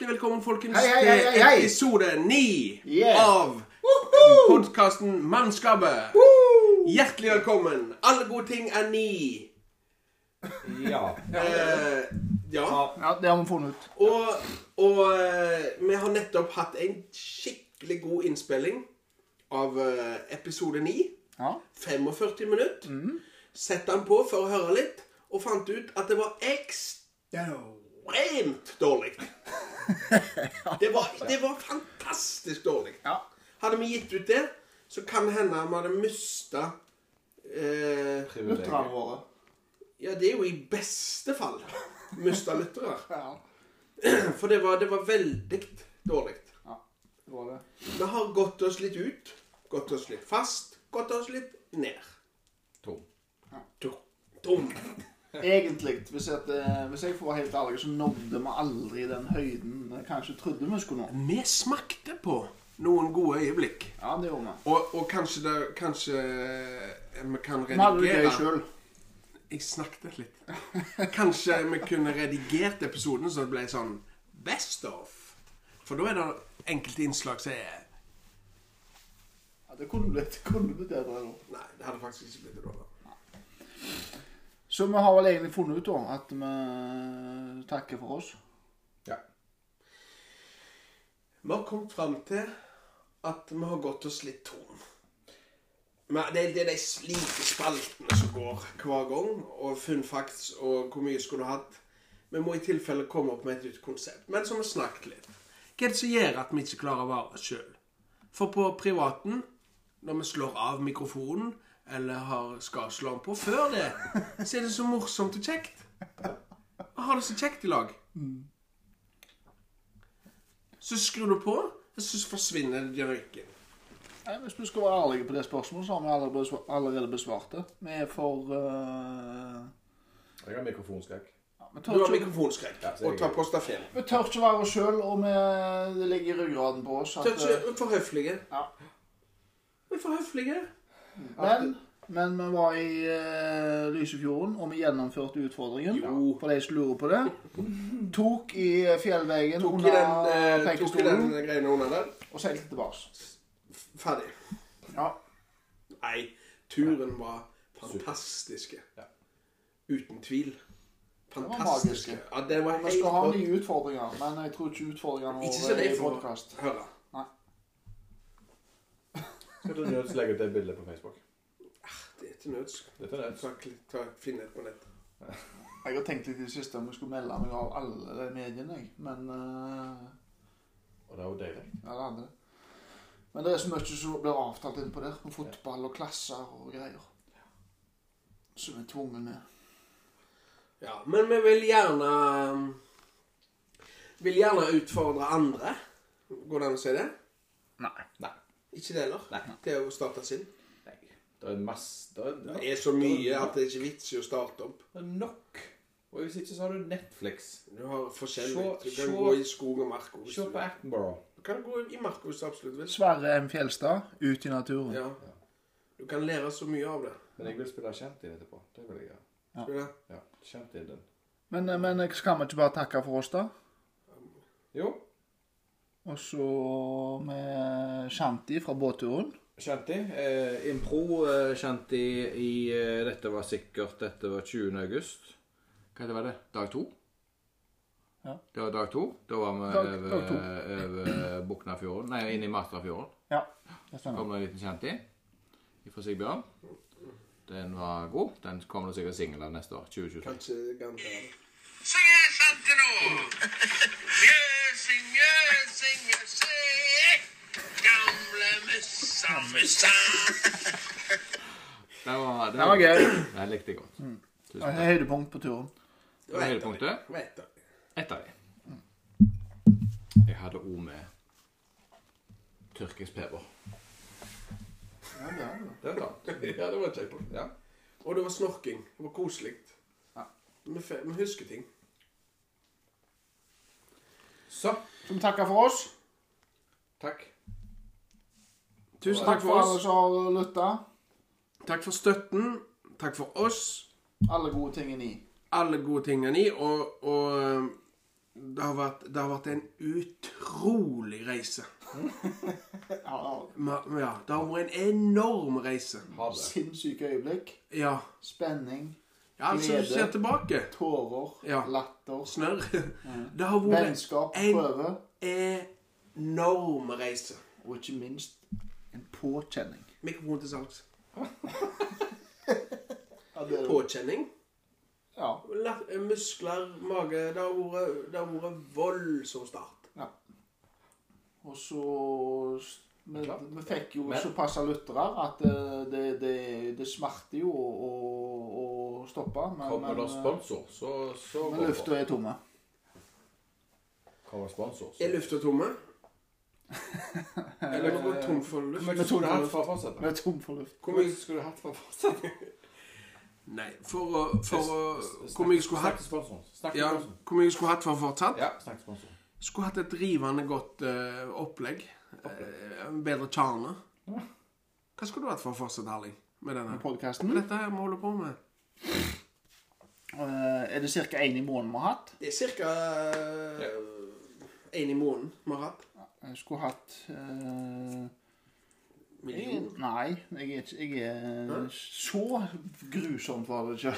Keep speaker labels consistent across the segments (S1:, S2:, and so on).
S1: velkommen folkens
S2: Hei, hei, hei, hei, hei.
S1: til episode 9
S2: Yeah.
S1: av podkasten Mannskapet. Hjertelig velkommen. Alle gode ting er ni.
S3: Ja.
S1: Eh, ja.
S4: Ja, det har vi funnet ut.
S1: Og, og eh, vi har nettopp hatt en skikkelig god innspilling av eh, episode 9.
S4: Ja.
S1: 45 minutter.
S2: Mm.
S1: Sett den på for å høre litt, og fant ut at det var ekstremt dårlig. Det var, det var fantastisk dårlig.
S4: Ja.
S1: Hadde vi gitt ut det, så kan det hende vi hadde mista eh,
S2: Lytterne våre.
S1: Ja, det er jo i beste fall mista lyttere.
S4: ja.
S1: For det var, det var veldig dårlig.
S4: Det var det.
S1: Vi har gått oss litt ut, gått oss litt fast, gått oss litt ned.
S3: Tom.
S1: Tom. Tom.
S4: Egentlig, hvis, at, eh, hvis jeg får være helt ærlig, så nådde vi aldri den høyden jeg kanskje trodde vi skulle nå.
S1: Vi smakte på noen gode øyeblikk.
S4: Ja, det gjorde vi.
S1: Og, og kanskje det Kanskje eh, vi kan
S4: Vi hadde det gøy
S1: redigere
S4: sjøl.
S1: Jeg snakket litt. Kanskje vi kunne redigert episoden så det ble sånn best of. For da er det enkelte innslag som er
S4: Ja, det kunne blitt, det kunne blitt bedre. nå.
S1: Nei, det hadde faktisk ikke blitt det da. da.
S4: Så vi har vel egentlig funnet ut da, at vi takker for oss.
S3: Ja.
S1: Vi har kommet fram til at vi har gått oss litt tom. Men det, det er de slike spaltene som går hver gang, og fun facts og hvor mye skulle du hatt. Vi må i tilfelle komme opp med et nytt konsept. Men som vi snakket litt. Hva er det som gjør at vi ikke klarer å være oss sjøl? For på privaten, når vi slår av mikrofonen, eller har, skal slå den på før det, så er det så morsomt og kjekt. Vi har det så kjekt i lag. Så skrur du på, og så forsvinner den røyken.
S4: Nei, hvis vi skal være ærlige på det spørsmålet, så har vi allerede besva- allerede besvart det. Vi er for eh,
S3: Jeg har mikrofonskrekk.
S4: ja, vi,
S1: Du
S4: tør
S1: har
S4: ikke,
S1: mikrofonskrekk
S3: Ja, så
S1: og
S3: jeg-
S1: tar på stafell.
S4: vi tør ikke være oss sjøl, og vi, det ligger i ryggraden på oss.
S1: Tør
S4: At, eh,
S1: ikke for høflige.
S4: Ja.
S1: Vi er for høflige.
S4: Men, men vi var i eh, Lysefjorden, og vi gjennomførte utfordringen.
S1: Jo.
S4: For de som lurer på det. Tok i eh, fjellveggen
S1: Tok i
S4: under
S1: den, eh, tok i den
S4: pekestolen
S1: greiene under der.
S4: og seilte tilbake.
S1: Ferdig.
S4: Ja.
S1: Nei, turen var fantastiske.
S3: Ja.
S1: Uten tvil.
S4: var
S1: Fantastiske.
S4: magiske.
S1: Ja, det var
S4: Vi
S1: helt
S4: skal ha
S1: godt.
S4: nye utfordringer, men jeg tror ikke utfordringene
S1: Ikke så
S4: våre
S1: det
S4: er i
S1: jeg får
S4: podkast.
S1: høre.
S3: Skal du nødt legge ut det bildet på Facebook?
S1: Det er til nøds.
S3: Dette er det.
S1: Ta, ta, finn et på nettet.
S4: Jeg har tenkt litt i det siste om jeg skulle melde meg av alle de mediene, jeg. Men eh,
S3: Og det er jo deilig.
S4: Ja, det hadde det. Men det er så mye som blir avtalt innpå der. Med fotball og klasser og greier. Som er tvungen med.
S1: Ja, men vi vil gjerne um, Vil gjerne utfordre andre. Går det an å si det?
S4: Nei.
S3: Nei.
S1: Ikke det heller?
S3: Nei.
S1: Til å starte sin?
S3: Nei. Det er masse Det er,
S1: Det er så mye at det er ikke vits i å starte opp.
S3: det er nok. Og hvis ikke, så har du Netflix.
S1: Du har forskjellig.
S3: Se-
S1: Du kan
S3: se-
S1: gå i skog og mark. hvis
S3: Se
S1: Du
S3: på Attenborough.
S1: Du kan gå i mark hvis du absolutt vil.
S4: Sverre M. Fjelstad, ut i naturen.
S1: Ja. Du kan lære så mye av det.
S3: Men jeg vil spille kjent inn etterpå. Det vil jeg gjøre.
S1: Skal du det?
S3: Ja. Kjent inn den.
S4: Men, eh, men skal vi ikke bare takke for oss, da?
S3: Jo.
S4: Og så med Shanti fra båtturen.
S3: Kjent inn. Eh, impro eh, kjent i, i eh, Dette var sikkert Dette var 20. august. Hva det var det? Dag to?
S4: Ja.
S3: Det var dag to. Da var vi
S4: Dag-
S3: over,
S4: dag to.
S3: over Buknafjorden. Nei, inn i Martrafjorden.
S4: Ja, det stemmer.
S3: kom det en liten kjent i fra Sigbjørn. Den var god. Den kommer det sikkert singel av neste år. 2022.
S1: Kanskje garantere det.
S5: Syng en sante nå! Mjøsing, mjøsing, mjøsing. Gamle mussa, mussa.
S3: Det var,
S4: Det var gøy.
S3: Den likte jeg godt.
S4: Det var høydepunkt på turen.
S3: Det var høydepunktet.
S1: Jeg vet det.
S3: Ett av de. Jeg hadde ord med tyrkisk peber.
S4: Ja, det er det.
S3: Det var et annet. Ja, det var et kjekt. Ja.
S1: Og det var snorking. Det var koselig.
S4: Ja.
S1: Vi fe- vi husker ting.
S3: Så.
S4: Så vi takker for oss.
S3: Takk.
S1: Tusen
S4: Takk for alle som har eh, lytta.
S1: Takk for støtten. Takk for oss.
S4: Alle gode ting er ni.
S1: alle gode tingene i, og, og eh, det har vært, det har vært en utrolig reise.
S4: Ja, ja.
S1: Ma- Ja, det har vært en enorm reise.
S3: Ha det.
S4: Sinnssyke øyeblikk.
S1: Ja.
S4: Spenning.
S1: ja så du ser tilbake.
S4: Tårer.
S1: Ja.
S4: Latter.
S1: Snørr. Det har vært
S4: Mm. Vennskap på
S1: en-
S4: prøve.
S1: en enorm reise.
S4: Og ikke minst en påkjenning.
S1: Mikrofon til salgs.
S4: Ja, det er det.
S1: Påkjenning.
S4: Ja.
S1: La- Muskler, mage. Det har vært, det har vært voldsom start.
S4: Og så s- Vi,
S3: Klart.
S4: vi fikk jo
S3: Men-
S4: såpass av lyttere at eh, det, det, det smerter jo å, å, å stoppe. Men,
S3: Kommer
S4: men,
S3: det sponsor, så, så
S4: eh, men lufta er tomme.
S3: Kommer det sponsor, så
S1: Er lufta tomme? Eller har vi gått tom for
S3: Hvor
S1: luft?
S3: mye skulle du hatt for å
S4: Vi
S3: fortsette?
S4: er tom for luft.
S1: Hvor
S3: Hvor mye
S1: mye
S3: skulle du hatt for å fortsette?
S1: Nei, for å, for å Hvor
S3: Snakk-
S1: mye skulle hatt
S3: Snakk til sponsoren. Snakk til
S1: ja,
S3: sponsoren.
S1: hvor mye skulle hatt for fortsatt?
S3: Ja, snakk til sponsoren.
S1: Skulle hatt et rivende godt eh, opplegg. Eh, en bedre charme. Hva skulle du hatt for å fortsette, Erling? Med denne?
S4: Podcasten.
S1: Med dette her vi holder på med?
S4: Eh, er det ca. én i måneden vi har hatt?
S1: Det er ca. én i måneden vi har hatt.
S4: Jeg skulle hatt eh, jeg,
S1: Million.
S4: Nei, jeg er, ikke- jeg er så grusomt var det ikke.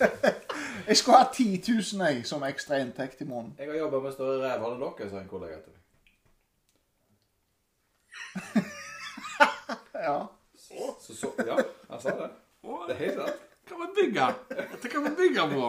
S4: jeg skulle hatt 10 000 jeg, som ekstra inntekt i måneden.
S3: Jeg har jobba med større rævhall enn dere, sa en kollega til meg.
S4: Ja.
S3: Så, så, ja, han sa det. Det er helt sant.
S1: kan vi bygge. Dette kan vi bygge på.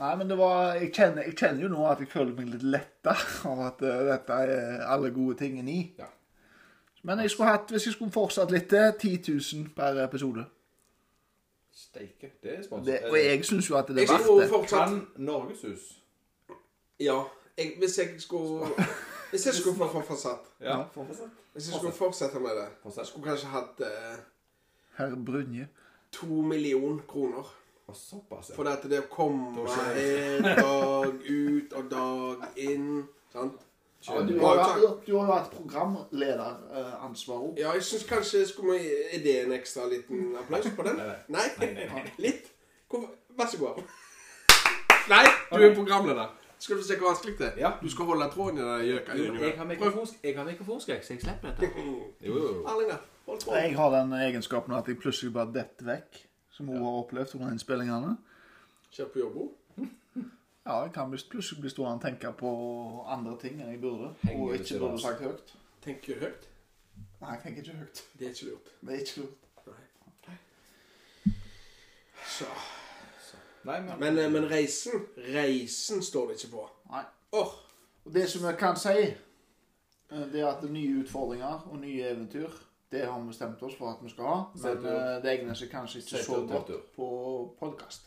S4: Nei, men det var, jeg, kjenner, jeg kjenner jo nå at jeg føler meg litt letta av at eh, dette er alle gode tingene i.
S3: Ja.
S4: Men jeg skulle hatt, hvis jeg skulle fortsatt litt til, 10 000 per episode.
S3: Steike. Det er sponsor.
S4: Det, og jeg syns jo at det
S1: Jeg
S4: er
S1: skulle
S4: verdt det.
S1: fortsatt
S3: Kan Norgeshus
S1: Ja. Jeg, hvis jeg skulle Hvis jeg skulle få fortsatt
S3: Ja, for fortsett.
S1: Hvis jeg skulle fortsette med det,
S3: Fortsett.
S1: skulle jeg kanskje hatt eh,
S4: Herr Brunje.
S1: to million kroner.
S3: Og såpass,
S1: For
S3: ja.
S1: det at det å komme her dag ut og dag inn Sant?
S4: Ja, du,
S1: Ja,
S4: har,
S1: takk.
S4: vært- du har jo hatt programlederansvar òg.
S1: Ja, jeg syns kanskje skulle vi Er det en ekstra liten applaus på den? Nei? Litt? Hvorfor- Vær så god. Nei, du er programleder. Skal du se hvor vanskelig det er?
S3: Ja.
S1: Du skal holde tråden i den jøka.
S3: Jeg har mikrofonsk- jeg har mikrofonskrekk, så jeg slipper dette. Jo, jo, jo.
S1: Erling, da. Hold tråden.
S4: Jeg har den egenskapen at jeg plutselig bare detter vekk, som hun har opplevd under innspillingene.
S1: Kjør på jobb også.
S4: Ja, jeg kan visst plutselig bli stående og tenke på andre ting enn jeg burde.
S3: Henger
S4: Og
S3: det til
S4: ikke burde
S3: oss?
S4: sagt høyt.
S1: Tenker du høyt?
S4: Nei, jeg tenker ikke høyt.
S1: Det er ikke lurt.
S4: Det er ikke lurt.
S1: Så.
S3: Nei, men
S1: Men, eh, men reisen Reisen står det ikke på.
S4: Nei.
S1: Åh,
S4: Og det som jeg kan si, eh, det er at det er nye utfordringer og nye eventyr, det har vi bestemt oss for at vi skal ha. Men
S3: Setter-
S4: eh, det egner seg kanskje ikke
S3: Setter
S4: så
S3: opp
S4: godt
S3: tur.
S4: på podkast.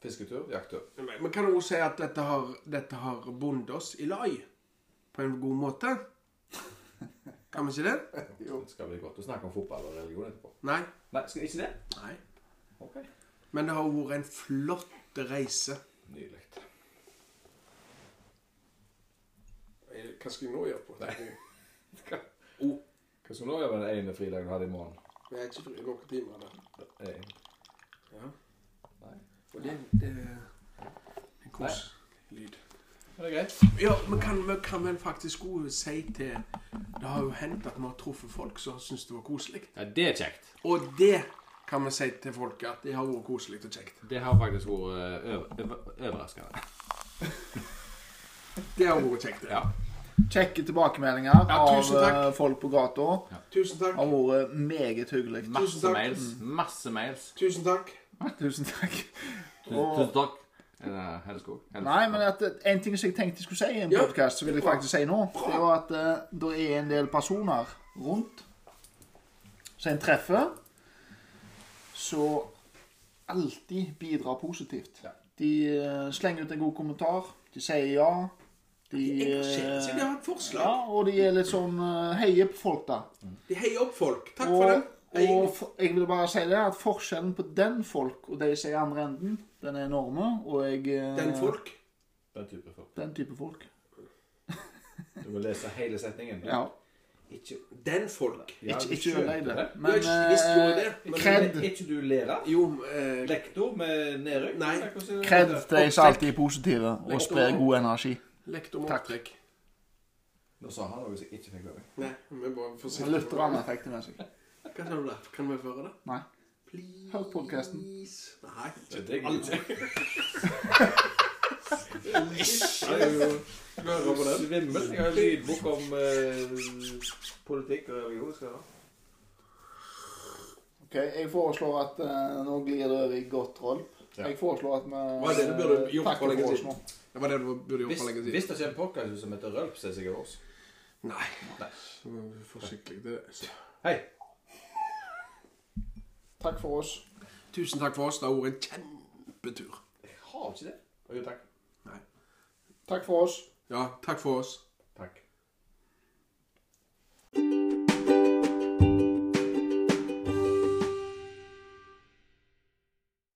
S3: Fisketur, jakttur.
S1: Men men kan du også si at dette har, dette har bundet oss i lag på en god måte? Kan vi si det?
S4: Jo.
S3: Det skal bli godt å snakke om fotball og religion etterpå.
S1: Nei.
S3: Nei, skal ikke det?
S1: Nei.
S3: Ok.
S1: Men det har vært en flott reise.
S3: Nydelig.
S1: Eh, Hva skal jeg nå gjøre på? Nei.
S3: Hva
S1: Oh,
S3: hva skal du nå gjøre med den ene fridagen du hadde i morgen?
S1: vi er ikke fri noen timer der.
S3: Eh,
S1: Ja.
S3: Nei.
S1: Og det, det En koslyd.
S3: Er det greit?
S1: Ja, men kan vi kan vel faktisk også si til Det har jo hendt at vi har truffet folk som syns det var koselig.
S3: Ja, det er kjekt.
S1: Og det kan vi si til folk at det har vært koselig og kjekt.
S3: Det har faktisk vært eh, overraskende.
S1: Det har vært kjekt. det.
S3: Ja.
S4: Kjekke tilbakemeldinger
S1: Ja,
S4: av
S1: tusen takk.
S4: eh, folk på gata.
S1: Tusen takk.
S4: har vært meget hyggelig.
S1: Tusen
S3: Masse
S1: takk.
S3: mails. Masse mails.
S1: Tusen takk.
S4: Tusen takk.
S3: Tusen
S4: Og,
S3: tusen takk. Eh, Helleskog. Helles-
S4: nei, men at, eh, En ting som jeg tenkte jeg skulle si i en
S1: Ja.
S4: podkast, så vil jeg faktisk si nå, det er jo at eh, det er en del personer rundt som en treffer, som alltid bidrar positivt.
S3: Ja.
S4: De eh, slenger ut en god kommentar, de sier ja. De,
S1: De engasjerer seg. De
S4: eh,
S1: har et
S4: ja,
S1: forslag.
S4: og de er litt sånn eh, heier på folk, da.
S1: De heier opp folk. Takk
S4: Og,
S1: for det.
S4: og
S1: Jeg,
S4: for, jeg vil bare si det, at forskjellen på den folk og de som er i andre enden, den er enorme. Og jeg eh,
S1: den folk.
S3: Den type folk.
S4: Den type folk.
S3: Du må lese hele setningen.
S4: Ja.
S3: Ikke
S1: Den folk.
S3: Ja,
S4: Ikke,
S3: du
S4: ikke
S3: skjønte
S4: ødelegg det.
S3: det.
S1: Ja,
S4: Men
S1: jeg visste jo det,
S4: eh,
S1: men-
S4: kred,
S3: Er ikke du lærer?
S1: Jo, eh,
S3: Lektor med nedrykk?
S1: Nei.
S3: Eller hvordan er det?
S4: kred de som alltid er positive og sprer god energi.
S1: lektor med opptrekk.
S3: Nå sa han noe som jeg ikke fikk lov til.
S1: Nei, vi bare forsiktige.
S4: Lutheraner fikk det med seg.
S1: Hva sa du der? Kan vi høre det?
S4: Nei.
S1: Please.
S4: Hør podcasten.
S1: Nei.
S3: Det er jeg ikke.
S1: Jeg er jo- Hører på den.
S3: Svimmel. Jeg har en lydbok om eh, politikk og religion. skal jeg ha.
S4: Ok, Jeg foreslår at eh, nå glir det over i godt rolp.
S3: Ja.
S4: Jeg foreslår at vi
S1: Hva er det du burde
S4: eh,
S1: gjort
S4: takker
S1: for lenge
S4: oss
S1: siden?
S4: nå.
S1: Det var det du burde gjort
S3: Hvis,
S1: for lenge siden.
S3: hvis det kommer en podkast som heter Rølp, så er det sikkert oss.
S1: Nei.
S3: Nei.
S1: Så Forsiktig. Det er- så-
S3: Hei.
S4: Takk for oss.
S1: Tusen takk for oss. Det har vært en kjempetur.
S3: Jeg har ikke det. Å, Jo, takk.
S4: Takk for oss.
S1: Ja, takk for oss.
S3: Takk.